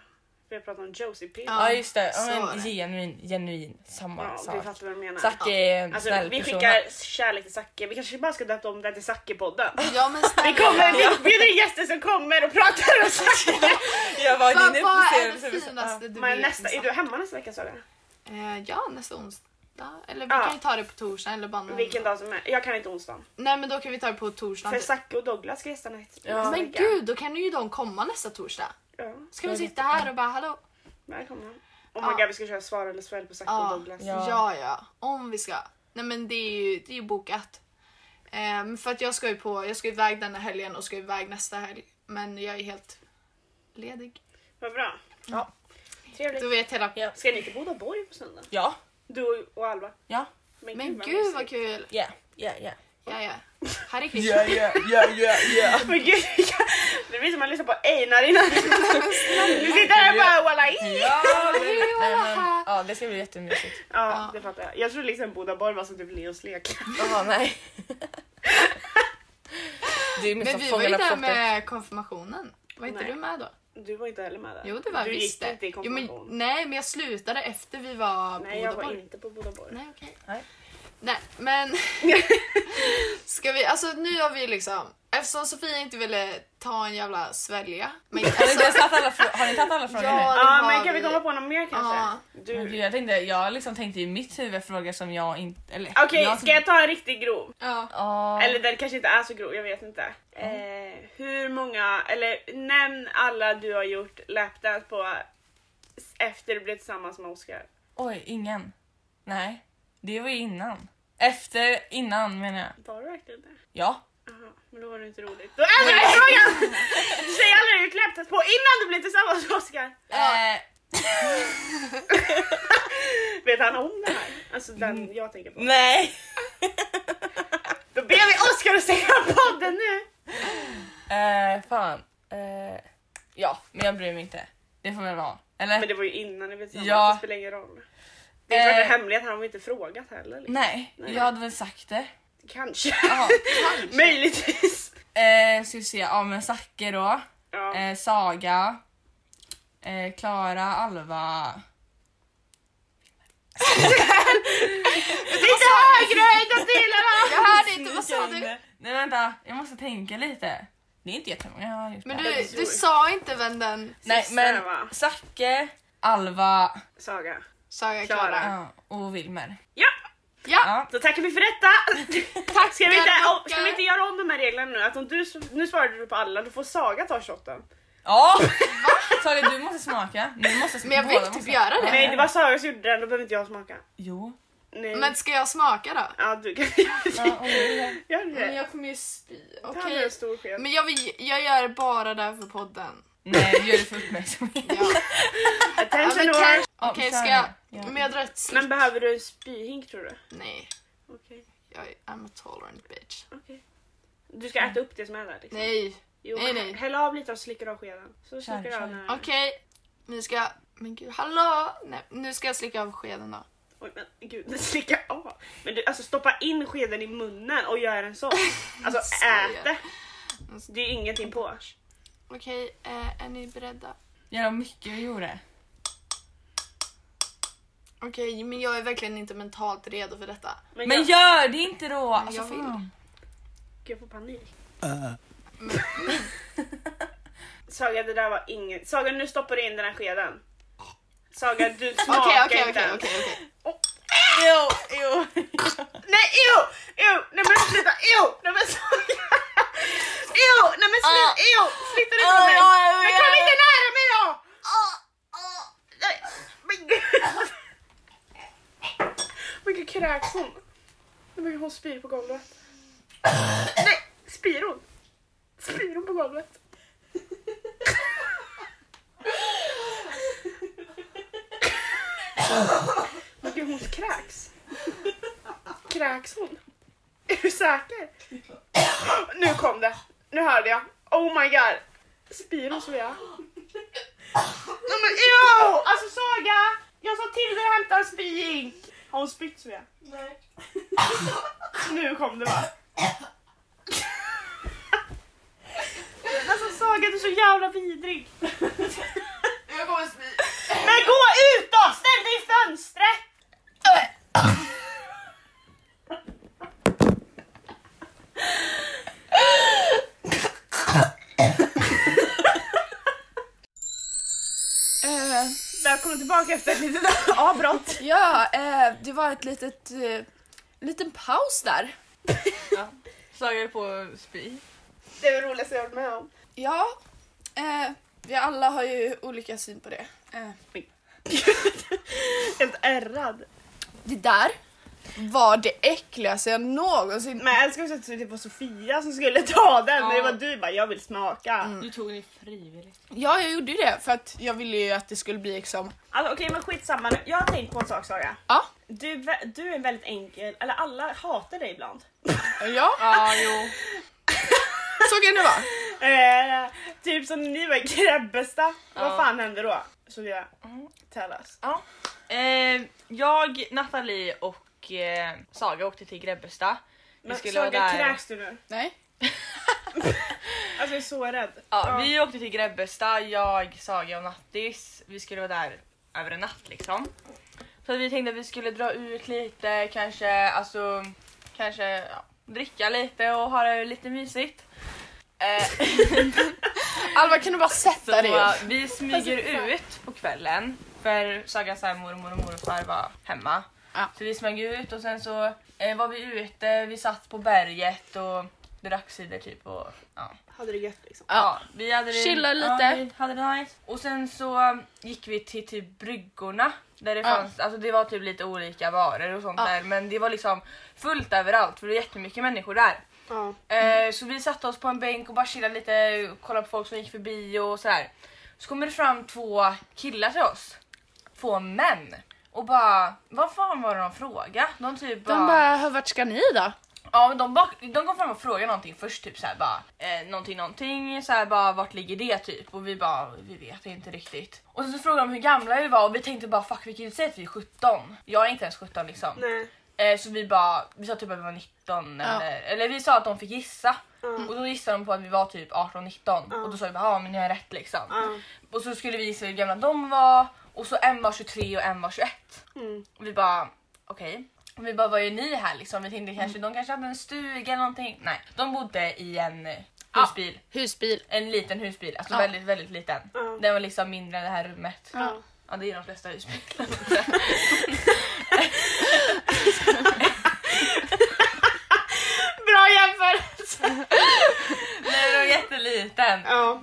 Vi har pratat om Josie P. Ja. Ja, just det, så ja, var men, det. genuin, genuin, samma Ja, sak. vi fattar vad du menar. Zacke är en Alltså, snäll vi person. skickar kärlek till Zacke. Vi kanske bara ska döpa om den till Zacke-podden. Ja men Vi, snälla. kommer, vi bjuder in gäster som kommer och pratar om Zacke. Jag bara, Vad din är vad är precis- det finaste du Men vet? nästa, Jossan? är du hemma nästa vecka sa du? Eh, ja, nästa onsdag. Eller vi Ja. kan ju ta det på torsdag eller bara någon- Vilken dag som helst. Jag kan inte onsdagen. Nej men då kan vi ta det på torsdag. För Zacke och Douglas ska gästa nästa Ja. nästa Men vecka. gud, då kan ju de komma nästa torsdag. Ja, Ska vi sitta här och bara hallå? välkomna. Oh my Ja. god vi ska köra svar eller svälj på Zacke och Ja, Douglas. ja, ja, Om vi ska. Nej men det är ju, det är ju bokat. Ehm, för att jag ska ju på, jag ska iväg denna helgen och ska iväg nästa helg. Men jag är helt ledig. Vad bra. Ja. Trevligt. Då vet hela... Ja. Ska ni till Bodaborg på söndag? Ja. Du och Alva? Ja. Men gud vad mysigt. kul! Yeah. Yeah, yeah. Ja, ja. Här är Christian. Yeah, yeah, yeah, yeah, yeah. Men gud, det blir som att lyssna på Einar innan. Du sitter här och bara walla i. Ja, det, Hej, nej, men, Ola. ja, det ska bli jättemysigt. Ja, det fattar jag. Jag tror liksom Bodaborg var som typ Leos lek. Jaha, nej. Det är Men nästan vi var ju där Fångarna med... med konfirmationen. Var inte Nej. du med då? Du var inte heller med där. Jo det var du jag gick visst det. inte i jo, men, konfirmation. Nej men jag slutade efter vi var på Nej, jag var Bodaborg. inte på Bodaborg. Nej okej. Nej. Nej men. Ska vi, alltså nu har vi liksom. Eftersom Sofia inte ville ta en jävla svälja. Men Har ni alltså, inte ens tagit alla, frå- har ni tagit alla frågor Ja, nu? det Ja, var men kan vi vi. komma på något mer kanske? Ja. Du... Men gud, Okej, Jag, tänkte, jag liksom tänkte i mitt huvud frågor som jag inte... Eller, jag ska jag ta en riktigt grov? ja. Ja. Eller den kanske inte är så grov, jag vet inte. Eh, hur många, eller nämn alla du har gjort lapdance på s- efter du blev tillsammans med Oscar. Oj, ingen. Nej, det var ju innan. Efter, innan menar jag. Var du verkligen det? Ja. Jaha, men då var det inte roligt. Då ändrar jag frågan! Du säger alla du har gjort lapdance på innan du blev tillsammans med Oscar. Eh, Vet han om det här? Alltså Mm. den jag tänker på. nej. Då ber vi Oscar att säga podden nu! Eh, fan. Eh, ja, men jag bryr mig inte. Det får väl vara. Eller? Men det var ju innan ni blev tillsammans, Ja. det spelar ingen roll. Det är klart Eh. en hemlighet, han har väl inte frågat heller. Liksom. Nej, Nej. jag hade väl sagt det. Kanske. Ja. Möjligtvis. Eh, ska vi se, ja men Zacke då. Ja. Eh, Saga. Eh, Klara, Alva. Lite högre höjda till Jag hörde inte, vad sa du? Nej vänta, jag måste tänka lite. Det är inte jättemånga jag har gjort Men det. du, du sa inte vem den Nej sista men va? Zacke, Alva Saga. Saga Klara. Klara. ja, och Wilmer. Ja, Ja, Ja. då tackar vi för detta. tack Ska vi inte, oh, ska vi inte göra om de här reglerna nu? Att om du, nu svarade du på alla, då får Saga ta shotten. Ja! Saga du måste smaka. Ni måste, Men jag båda vill typ måste. göra det. Nej, det var Saga som gjorde den, då behöver inte jag smaka. Jo. Nej. Men ska jag smaka då? Ja, du kan Ja, och Wilmer. göra det. Men jag kommer ju spy. Ta nu Okej. en stor sked. Men jag, vill, jag gör det bara där för podden. Nej gör det för uppmärksamhet. Ja. Ja, Attention men or... kanske- Ja, Okej, kör ska nu. jag... Ja. Men jag drar ett slipp. Men behöver du en spyhink tror du? Nej, Okej. jag är I'm a tolerant bitch. okej. Du ska äta upp det som är där liksom? Nej, Jo, Nej, men nej. Häll av lite och slickar av skeden. Så Kör, slickar du av kör. den här. okej. Nu ska jag... Men gud, hallå! Nej, nu ska jag slicka av skeden då. Oj, men gud, slicka av. Men du, alltså stoppa in skeden i munnen och gör en sån. Alltså ät det. Alltså. Det är ingenting på. Okej, eh, är ni beredda? Ja, det var mycket vi gjorde. Okej, men jag är verkligen inte mentalt redo för detta. Men, Men jag, gör det inte då! Alltså, jag vill. fan. jag får panik. Saga det där var inget. Saga nu stoppar du in den här skeden. Saga du smakar Okej, okej, inte okej, ens. okej, okej. Jo, jo. Nej ew! Ew! Nej men sluta! Ew! Nej men Saga! Ew! Nej men sluta! Ew! Flytta dig från mig! Oj, oj, oj, Men kom oj. inte nära mig då! Åh, åh, nej. Men gud! Men gud kräks hon? Nej men gud, hon spyr på golvet. Nej! Spyr hon? Spyr hon på golvet? Men gud hon kräks. Kräks hon? Är du säker? Nu kom det. Nu hörde jag. Oh my god. Spyr hon så jag? Nej men ew! Alltså Saga! Jag sa till dig att hämta en spyink. Har hon spytt så jag? Nej. Nu kom det va? Alltså Saga du är så jävla vidrig. Jag kommer spy. Men gå ut då! Ställ dig i fönstret! Eh, Välkommen tillbaka efter ett litet avbrott. ja, eh, det var ett litet... Eh, liten paus där. Saga på spy. Det är det roligaste jag varit med om. Ja. Eh, vi alla har ju olika syn på det. Eh, Helt ärrad. det där var det äckligaste jag någonsin... Men jag skulle säga att det var Sofia som skulle ta den, men det var du bara jag vill smaka. Du tog det frivilligt. Ja, jag gjorde ju det för att jag ville ju att det skulle bli liksom... Alltså, Okej men skitsamma nu, jag har tänkt på en sak Sara. Ja. Du, är vä- du är väldigt enkel, eller alla hatar dig ibland. Ja, Ja, jo. så kan det vara. Eh, typ som när ni var i Grebbestad, vad fan hände då? Så jag tell us. Eh, jag, Nathalie och eh, Saga åkte till Grebbestad. Vi Men skulle vara Saga där- kräks du nu? Nej. Alltså jag är så rädd. Ja, Vi åkte till Grebbestad, jag, Saga och Nattis. Vi skulle vara där över en natt liksom. Så vi tänkte att vi skulle dra ut lite, kanske, alltså, kanske ja, dricka lite och ha det lite mysigt. Eh, Alva kan du bara Så sätta dig Alltså, upp? vi smyger ut på kvällen för Sagas här mormor och morfar var hemma. Ja. Så vi smög ut och sen så eh, var vi ute, vi satt på berget och drack cider typ. Och, ja. Hade det gött liksom. Ja, vi hade det, Chilla lite. Ja, vi hade det nice. Och sen så gick vi till typ bryggorna. Där det, Ja. fanns, alltså det var typ lite olika varor och sånt där men det var liksom fullt överallt för det var jättemycket människor där. Ja. Eh, så vi satte oss på en bänk och bara chillade lite, kollade på folk som gick förbi och sådär. Så kommer det fram två killar till oss. Två män. Och bara, vad fan var det de frågade? De typ bara... De bara, "Hör, vart ska ni då? Ja men de, bak, de kom fram och frågade någonting först, typ såhär bara eh, någonting någonting, såhär bara vart ligger det typ? Och vi bara vi vet inte riktigt. Och sen så frågade de hur gamla vi var och vi tänkte bara fuck vi kan ju inte säga att vi är 17. Jag är inte ens 17 liksom. Nej. Eh, så vi bara, vi sa typ att vi var 19 eller, eller vi sa att de fick gissa. Och då gissade de på att vi var typ 18-19 och då sa vi bara ja men ni har rätt liksom. Ja. Och så skulle vi gissa hur gamla de var och så en var 23 och en var 21. Mm. Och vi bara okej. Och vi bara vad är ni här liksom? Vi tänkte kanske de kanske hade en stuga eller någonting. Nej, de bodde i en eh, husbil. Husbil. En liten husbil, alltså Ja. väldigt väldigt liten. Ja. Den var liksom mindre än det här rummet. Ja. Ja det är de flesta husbilar. Bra jämförelse! Nej, den var jätteliten. Ja.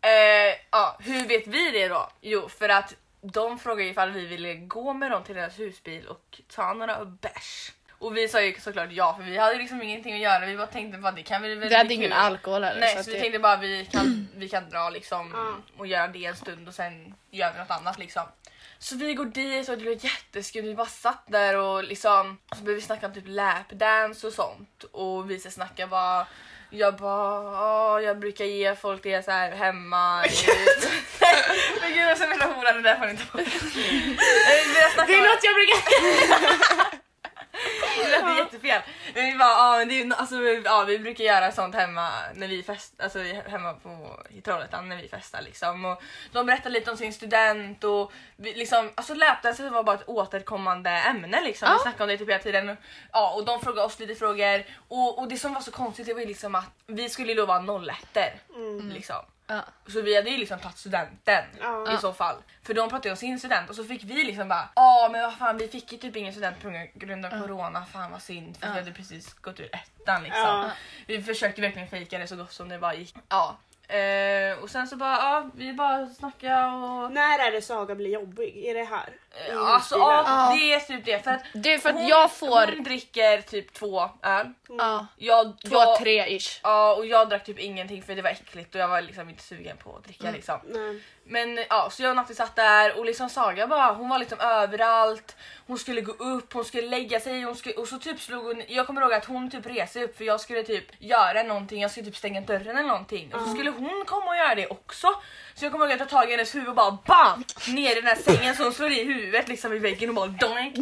Eh, ja, hur vet vi det då? Jo, för att de frågade ifall vi ville gå med dem till deras husbil och ta några bärs. Och vi sa ju såklart ja, för vi hade ju liksom ingenting att göra. Vi bara tänkte bara det kan vi väl Vi hade bli ingen kul. alkohol heller. Nej, så, att vi det- tänkte bara vi kan, vi kan dra liksom Ja. och göra det en stund och sen gör vi något annat liksom. Så vi går dit och det blev jätteskumt. Vi bara satt där och liksom så började vi snacka om typ lapdance och sånt och vi så snacka bara jag bara, "Ja, jag brukar ge folk det så här hemma. Men gud, jag ska mena hora, det där får ni inte vara. Det är något jag brukar... Det lät jättefel. Men vi bara, ja, men det är, ju no- alltså, vi- ja, vi brukar göra sånt hemma när vi festar, alltså i- hemma på, i Trollhättan när vi festar liksom. Och de berättade lite om sin student och vi, liksom, alltså lapdansen var bara ett återkommande ämne liksom. Vi snackade om det typ hela tiden. Ja, och de frågade oss lite frågor och, och det som var så konstigt det var ju liksom att vi skulle ju då vara nolletter liksom. Ja. Så vi hade ju liksom tagit studenten Ja. i så fall. För de pratade ju om sin student och så fick vi liksom bara ja men vad fan vi fick ju typ ingen student på grund av corona, fan vad synd för vi hade precis gått ur ettan liksom. Ja. Vi försökte verkligen fejka det så gott som det bara gick. Ja. Eh, och sen så bara, ja vi bara snackade och... När är det Saga blir jobbig? Är det här? Ja, alltså ja, det är typ det. För att Det är för att jag får... Hon dricker typ två öl. Ja, Jag, två, jag, tre ish. Ja och jag drack typ ingenting för det var äckligt och jag var liksom inte sugen på att dricka Mm. liksom. Nej. Men ja, så jag och Natti satt där och liksom Saga bara, hon var liksom överallt. Hon skulle gå upp, hon skulle lägga sig hon skulle, och så typ slog hon, jag kommer ihåg att hon typ reste upp för jag skulle typ göra någonting, jag skulle typ stänga dörren eller någonting. Och så skulle hon komma och göra det också. Så jag kommer ihåg att jag tog tag i hennes huvud och bara BAM! Ner i den här sängen så hon slår i huvudet liksom i väggen och bara DONK!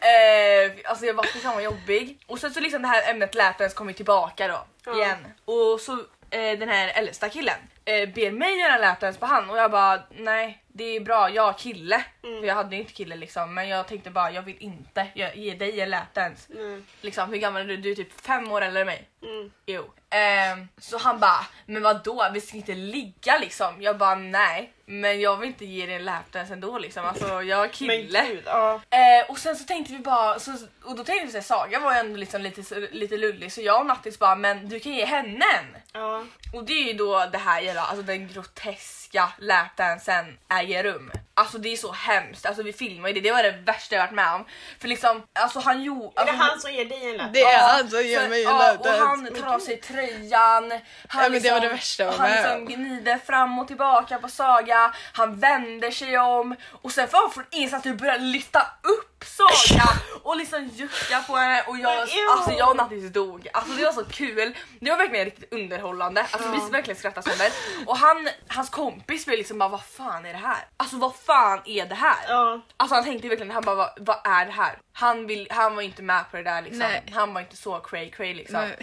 eh, alltså jag bara fy fan vad jobbig. Och sen så liksom det här ämnet läpens kommer ju tillbaka då igen. Och så eh, den här äldsta killen eh, ber mig göra lapdance på han och jag bara nej det är bra, jag har kille. Mm. För jag hade ju inte kille liksom men jag tänkte bara jag vill inte ge- ge dig en lapdance. Nej. Liksom hur gammal är du? Du är typ fem år äldre än mig. Mm. Jo. Ehm, så han bara men vadå vi ska inte ligga liksom. Jag bara nej men jag vill inte ge dig en lapdance ändå liksom. Alltså jag har Men kille. gud, ja. Eh, och sen så tänkte vi bara, så, och då tänkte vi såhär, Saga var ju ändå liksom lite, lite lullig så jag och Nattis bara, men du kan ge henne en. ja. Och det är ju då det här då, alltså den groteska lapdansen äger rum. Alltså det är så hemskt, alltså vi filmar ju det, det var det värsta jag varit med om. För liksom, alltså han gjorde... Är det alltså, han som ger dig en lapp? Det är han som ger för- mig en ja, och lapdance. han tar av sig tröjan. Han Ja, men det var det värsta jag var Han med liksom om. gnider fram och tillbaka på Saga, han vänder sig om och sen får han från ingenstans typ börja lyfta upp Saga och liksom jucka på henne och jag, Men ew. alltså jag och Nattis dog. Alltså det var så kul. Det var verkligen riktigt underhållande. Alltså vi verkligen skrattade sönder. Och han, hans kompis blev liksom bara vad fan är det här? Alltså vad fan är det här? Ja. Alltså han tänkte verkligen, han bara vad, vad är det här? Han, vill, han var inte med på det där liksom. Nej. Han var inte så cray cray liksom. Nej.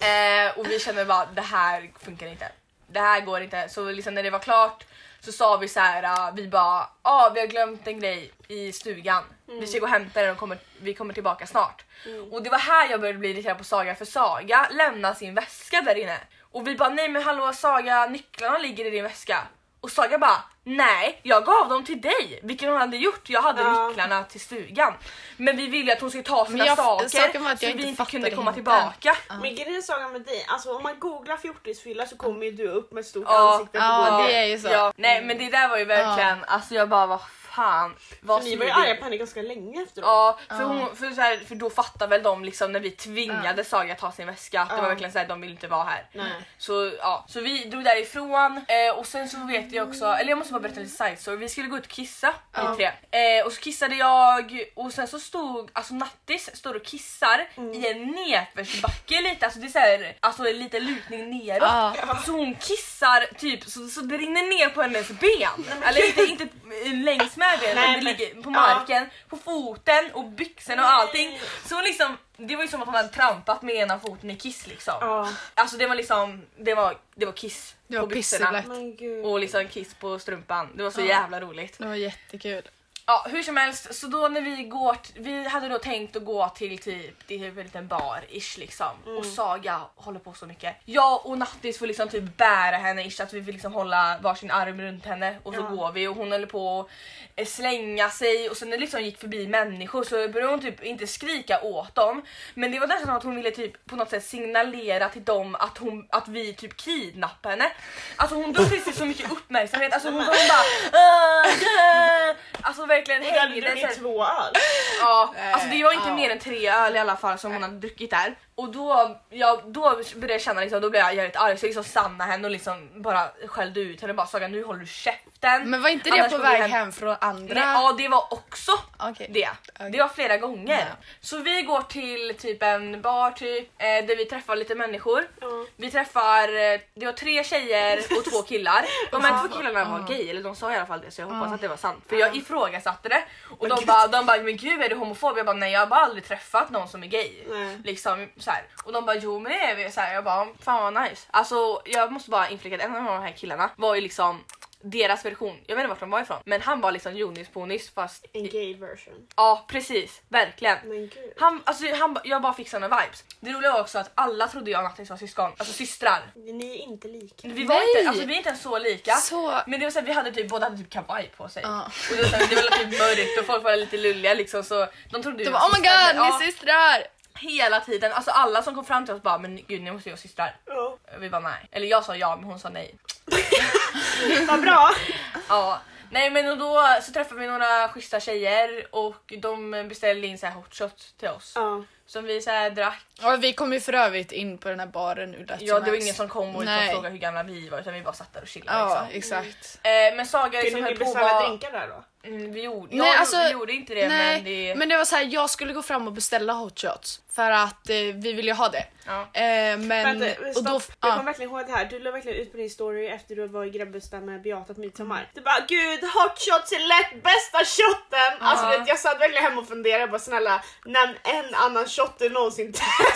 Eh, och vi kände bara det här funkar inte. Det här går inte. Så liksom när det var klart så sa vi så här, ah, vi bara ah, vi har glömt en grej i stugan. Vi ska gå och hämta den och kommer, vi kommer tillbaka snart. Mm. Och det var här jag började bli irriterad på Saga för Saga lämnar sin väska där inne. Och vi bara nej men hallå Saga nycklarna ligger i din väska. Och Saga bara nej jag gav dem till dig vilket hon hade gjort. Jag hade Ja. nycklarna till stugan. Men vi ville att hon skulle ta sina Men jag- saker saken var att så jag vi inte inte kunde fattade komma henne. tillbaka. Men grejen Saga med dig, alltså om man googlar fjortisfylla så kommer ju du upp med ett stort Ja. ansikte på Ja, Google. det är ju så. Ja, nej men det där var ju verkligen, alltså jag bara vad fan. Vad Ni var ju smidigt. arga på henne ganska länge efteråt. Ja, för, hon, för, så här, för då fattar väl de liksom när vi tvingade Saga att ta sin väska att det Ja. var verkligen såhär, de vill inte vara här. Nej. Så ja, så vi drog därifrån eh, och sen så vet jag också, eller jag måste bara berätta lite side story. Vi skulle gå ut och kissa vi tre. Eh, och så kissade jag och sen så stod, alltså Nattis står och kissar Mm. i en nedförsbacke lite, alltså det är såhär, alltså lite lutning neråt. Så hon kissar typ så, så det rinner ner på hennes ben. eller inte, inte längs med benen, Nej, men men- det ligger ja. på marken, på foten och byxorna och allting. Så hon liksom, det var ju som att hon hade trampat med ena foten i kiss liksom. Ja. Alltså det var liksom, det var, det var kiss Det var på byxorna. pissigt Men gud. Och liksom kiss på strumpan. Det var så jävla roligt. Det var jättekul. Ja, hur som helst, så då när vi går, t- vi hade då tänkt att gå till typ, det är väl en liten bar ish liksom. Mm. Och Saga håller på så mycket. Jag och Nattis får liksom typ bära henne ish, att vi vill liksom hålla varsin arm runt henne och så Ja. går vi och hon håller på att eh, slänga sig och sen när det liksom gick förbi människor så började hon typ inte skrika åt dem. Men det var nästan som att hon ville typ på något sätt signalera till dem att, hon, att vi typ kidnappar henne. Alltså hon drog till sig så mycket uppmärksamhet, alltså hon, hon bara "Ah, ah." Alltså verkligen Du hade hängde sig. druckit två öl. Ja, alltså det var inte mer än tre öl i alla fall som hon hade druckit där. Och då, ja, då började jag känna liksom, då blev jag jävligt arg så jag liksom stannade henne och liksom bara skällde ut henne bara Saga nu håller du käften. Men var inte det Annars på går vi väg hem. hem från andra? Nej, ja det var också Okej. det. Det var flera gånger. Så vi går till typ en bar typ, eh, där vi träffar lite människor. Ja. Vi träffar, eh, det var tre tjejer och två killar. De här två killarna var gay, eller de sa i alla fall det så jag hoppas att det var sant. För jag ifrågasatte det. Och de bara, de bara men gud är du homofob? Jag bara nej jag har bara aldrig träffat någon som är gay. Nej. Liksom, så här. Och de bara jo men det är vi. Så här, jag bara fan vad nice. Alltså jag måste bara inflika att en av de här killarna var ju liksom deras version, jag vet inte vart de var ifrån, men han var liksom Jonis Bonis fast En gay version. Ja precis, verkligen. Men gud. Han, alltså, han, ba- jag bara fick såna vibes. Det roliga var också att alla trodde jag och Nattis var syskon, alltså systrar. Ni är inte lika. Vi, var inte, alltså, vi är inte ens så lika. Så- Men det var så här, vi hade typ, båda hade typ kavaj på sig. Och det var, så här, det var typ mörkt och folk var lite lulliga liksom så de trodde vi De bara, oh my systrar, god, men, ni ja, är systrar! Hela tiden, alltså alla som kom fram till oss bara men gud ni måste ju vara systrar. Ja. Vi bara nej. Eller jag sa ja men hon sa nej. Vad bra. Ja. Nej men och då så träffade vi några schyssta tjejer och de beställde in så här hot shots till oss. Ja. Som vi så här drack Ja, vi kom ju för övrigt in på den här baren hur lätt Ja som det var helst. ingen som kom och Nej. liksom frågade hur gamla vi var utan vi bara satt där och chillade. Ja, Liksom. exakt. Eh, men Saga liksom Kunde ni höll på att beställa vara... drinkar där då? Mm, vi, gjorde, Nej, ja, alltså- vi gjorde inte det Nej, men det... var så här, jag skulle gå fram och beställa hot shots för att eh, vi vill ju ha det. Ja. Eh, men... Vänta, och stopp. då, jag ja. kommer verkligen ihåg det här. Du la verkligen ut på din story efter du var i Grebbestad med Beata på midsommar. Du bara gud hot shots är lätt bästa shotten! Alltså vet, du, jag satt verkligen hemma och funderade jag bara snälla nämn en annan shot du någonsin testat.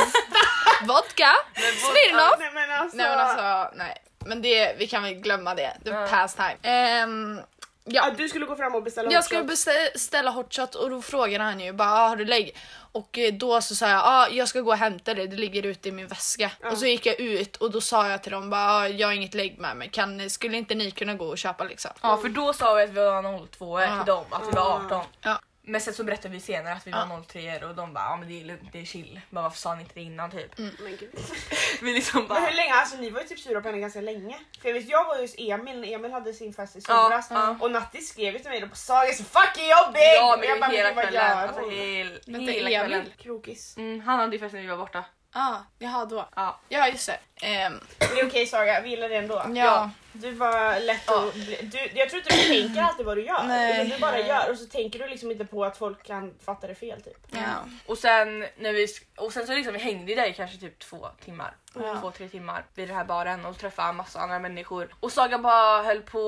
Vodka! Smirnoff! Nej men alltså. Nej men alltså, nej. Men det, vi kan väl glömma det. Det var past time. Ehm, Ja, ja. du skulle gå fram och beställa Jag hot skulle shots. beställa hot shot och då frågade han ju bara ah, har du lägg? Och eh, då så sa jag ah, jag ska gå och hämta det, det ligger ute i min väska. Och så gick jag ut och då sa jag till dem bara ah, jag har inget lägg med mig, kan, skulle inte ni kunna gå och köpa liksom? Ja för då sa vi att vi var 02 Ja. till dem, att vi var 18. Ja. Men sen så berättade vi senare att vi var 03 och de bara ja men det är lugnt, det är chill. Bara, varför sa ni inte det innan typ? Mm. Men gud. Vi liksom Men bara hur länge, alltså ni var ju typ sura på henne ganska länge. För jag vet jag var ju hos Emil när Emil hade sin fest i Ja, somras ja. och Natti skrev ju till mig då på Saga så fucking jobbig! Ja Och men jag bara, hela gud, vad kvällen. gör Alltså hon? hel, Vänta, hela Emil? kvällen. Krokis. Mm, han hade ju fest när vi var borta. Ah, jaha då. Ja. Ja just det. Ehm, Det är okej Saga, vi gillar det ändå. ja. Du bara lätt och, du, Jag tror inte du tänker alltid vad du gör. Nej. Utan du bara gör och så tänker du liksom inte på att folk kan fatta det fel typ. ja. Och sen, när vi, sk- och sen så liksom, vi hängde ju där i kanske typ två timmar. Två, tre timmar vid den här baren och träffade massa andra människor. Och Saga bara höll på,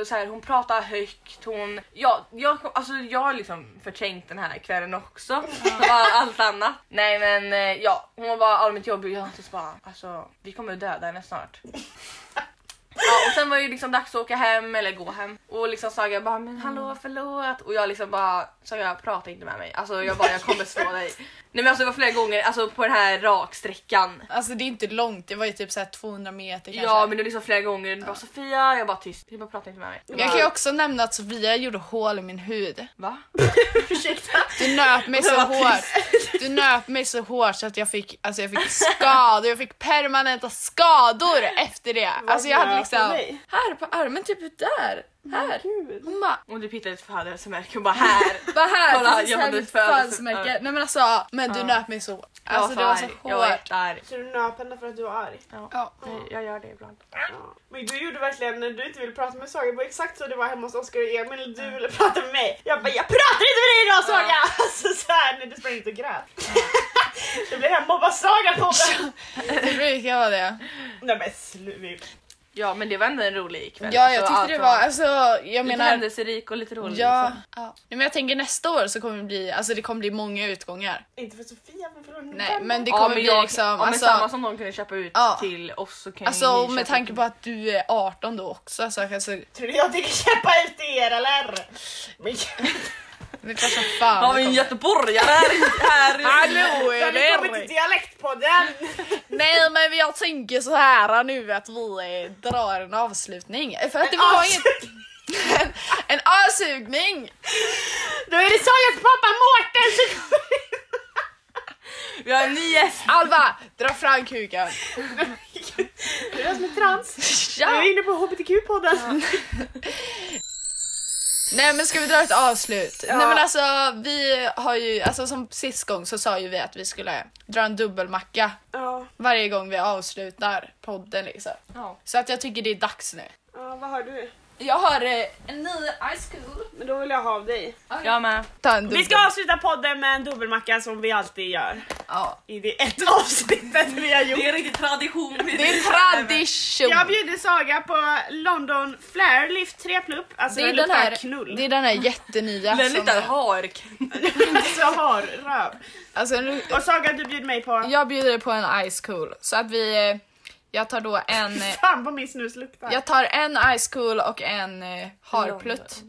och så här, hon pratade högt. Hon, ja, jag, kom- alltså, jag har liksom förträngt den här kvällen också. Det var allt annat. Nej men eh, ja, hon var bara allmänt jobbig och jag typ bara alltså vi kommer att döda henne snart. Ja, och sen var det ju liksom dags att åka hem eller gå hem och liksom Saga bara men hallå förlåt och jag liksom bara Saga prata inte med mig alltså jag bara jag kommer slå dig. Nej men alltså det var flera gånger alltså på den här raksträckan. Alltså det är inte långt, det var ju typ så här 200 meter kanske. Ja men det var liksom flera gånger du bara Sofia jag bara tyst, du bara prata inte med mig. Jag kan ju också nämna att Sofia gjorde hål i min hud. Va? Du nöp mig så hårt. Du nöp mig så hårt så att jag fick, alltså jag fick skador, jag fick permanenta skador efter det. Alltså jag hade liksom... Nej. Här på armen, typ där. Här. Hon bara, Och du pittade ett födelsemärke och bara här. bara här. Kolla, precis jag här hade vid ett födelse- födelsemärke. Nej men alltså, Men du nöp mig så hårt. Jag Alltså det var så arg, Jag var hårt. jättearg. Så du nöp henne för att du var arg? Ja. Nej, Jag gör det ibland. Ja. Men du gjorde verkligen när du inte ville prata med Saga, det var exakt så det var hemma hos Oskar och Emil. Du ville prata med mig. Jag bara jag pratar inte med dig idag Saga! Alltså såhär när du sprang ut och grät. Det blir hemma och bara Saga på den. Det brukar vara det. Nej men sluta. Ja men det var ändå en rolig kväll. Ja jag Alltså, tyckte allt det var, alltså jag Lite menar... händelserik och lite rolig. Ja, liksom. ja. Nej, men jag tänker nästa år så kommer det bli, alltså det kommer bli många utgångar. Inte för Sofia men för hon Nej men det Ja, kommer men bli jag- liksom, ja, men alltså, samma som de kunde köpa ut Ja. till oss så kan ju alltså ni med köpa tanke ut. på att du är 18 då också så alltså, Tror du jag tänker köpa ut er eller? Men det är klart som fan. Ja det men kommer. göteborgare här! här. Hallå kan ni komma till dialektpodden? Nej men jag tänker så här nu att vi eh, drar en avslutning. Eh, För att det En var avsug- inget... En, en avsugning! Då är det Sagas pappa Mårten som kommer in. Vi har en ny gäst! Alva, dra fram kuken. Det är jag som är trans. Ja. Jag är inne på hbtq-podden. Nej men ska vi dra ett avslut? Nej men alltså vi har ju, alltså som sist gång så sa ju vi att vi skulle dra en dubbelmacka Ja. varje gång vi avslutar podden liksom. Ja. Så att jag tycker det är dags nu. ja, vad har du? Jag har eh, en ny ice cool. Men då vill jag ha av dig. Jag med. Ta en dubbel. Vi ska avsluta podden med en dubbelmacka som vi alltid gör. Ja. I det ett avsnittet vi har gjort. Det är riktigt tradition. Det är tradition! Jag bjuder Saga på London Flair Lift 3 plupp. Alltså Det är, det den luktar här, knull. det är den här jättenya Den som- luktar hark. alltså har röv. alltså, den luk- Och Saga du bjuder mig på... Jag bjuder på en ice cool så att vi... eh, Jag tar då en... eh, Fan vad min snus luktar. Jag tar en ice cool och en eh, harplutt.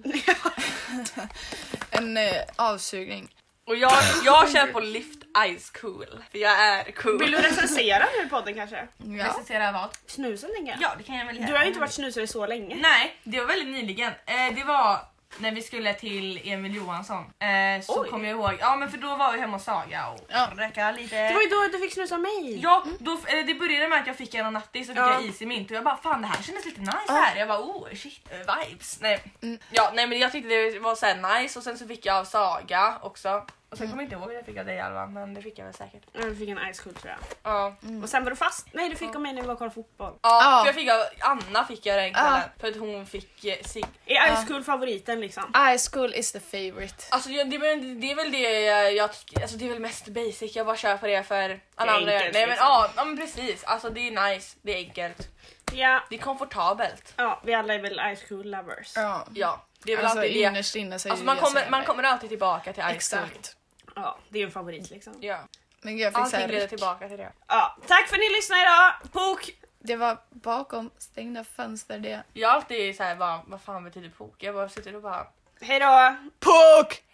en eh, avsugning. Och jag, jag kör på lift ice cool. För jag är cool. Vill du recensera nu podden kanske? Ja. recensera vad? Snusen tänker jag. Ja det kan jag väl göra. Du har ju inte varit snusare så länge. Nej, det var väldigt nyligen. Eh, det var när vi skulle till Emil Johansson. Eh, så Oj. kom jag ihåg, ja men för då var vi hemma hos Saga och Ja. röka lite. Det var ju då du fick snusa mig. Ja, då, eller det började med att jag fick en nattis så fick Mm. Ja. jag is i mint och jag bara fan det här kändes lite nice här. Jag bara oh shit eh, vibes. Nej. Mm. Ja, nej men jag tyckte det var så här nice och sen så fick jag av Saga också. Och sen Mm. kommer jag inte ihåg att jag fick av dig Alva men det fick jag väl säkert. Ja, Du fick en ice cool tror jag. Ja, Mm. Och sen var du fast. Nej du fick av mig när vi var och kollade fotboll. ja Ja. för jag fick av Anna fick jag den kvällen för att hon fick eh, sig Är ice cool favoriten liksom? Ice cool is the favorite. Alltså jag- det, är väl- det är väl det jag, jag tycker, alltså det är väl mest basic, jag bara kör på det för alla är andra gör det. enkelt, Nej men liksom. ja, ja men precis, alltså det är nice, det är enkelt, Ja. det är komfortabelt. Ja, vi alla är väl ice cool lovers. Ja. Ja, det är väl Alltså alltid det. innerst inne så är Alltså ju man det som kommer, är man mig. kommer alltid tillbaka till Ice Cool. Exakt. Ja, det är ju en favorit liksom. Ja. Men gud, jag fick Allting leder såhär, tillbaka till det. Ja, tack för att ni lyssnade idag! Pok! det var bakom stängda fönster det. Jag har alltid såhär, vad, vad fan betyder poker? Jag bara sitter och bara, Hejdå!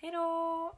hejdå!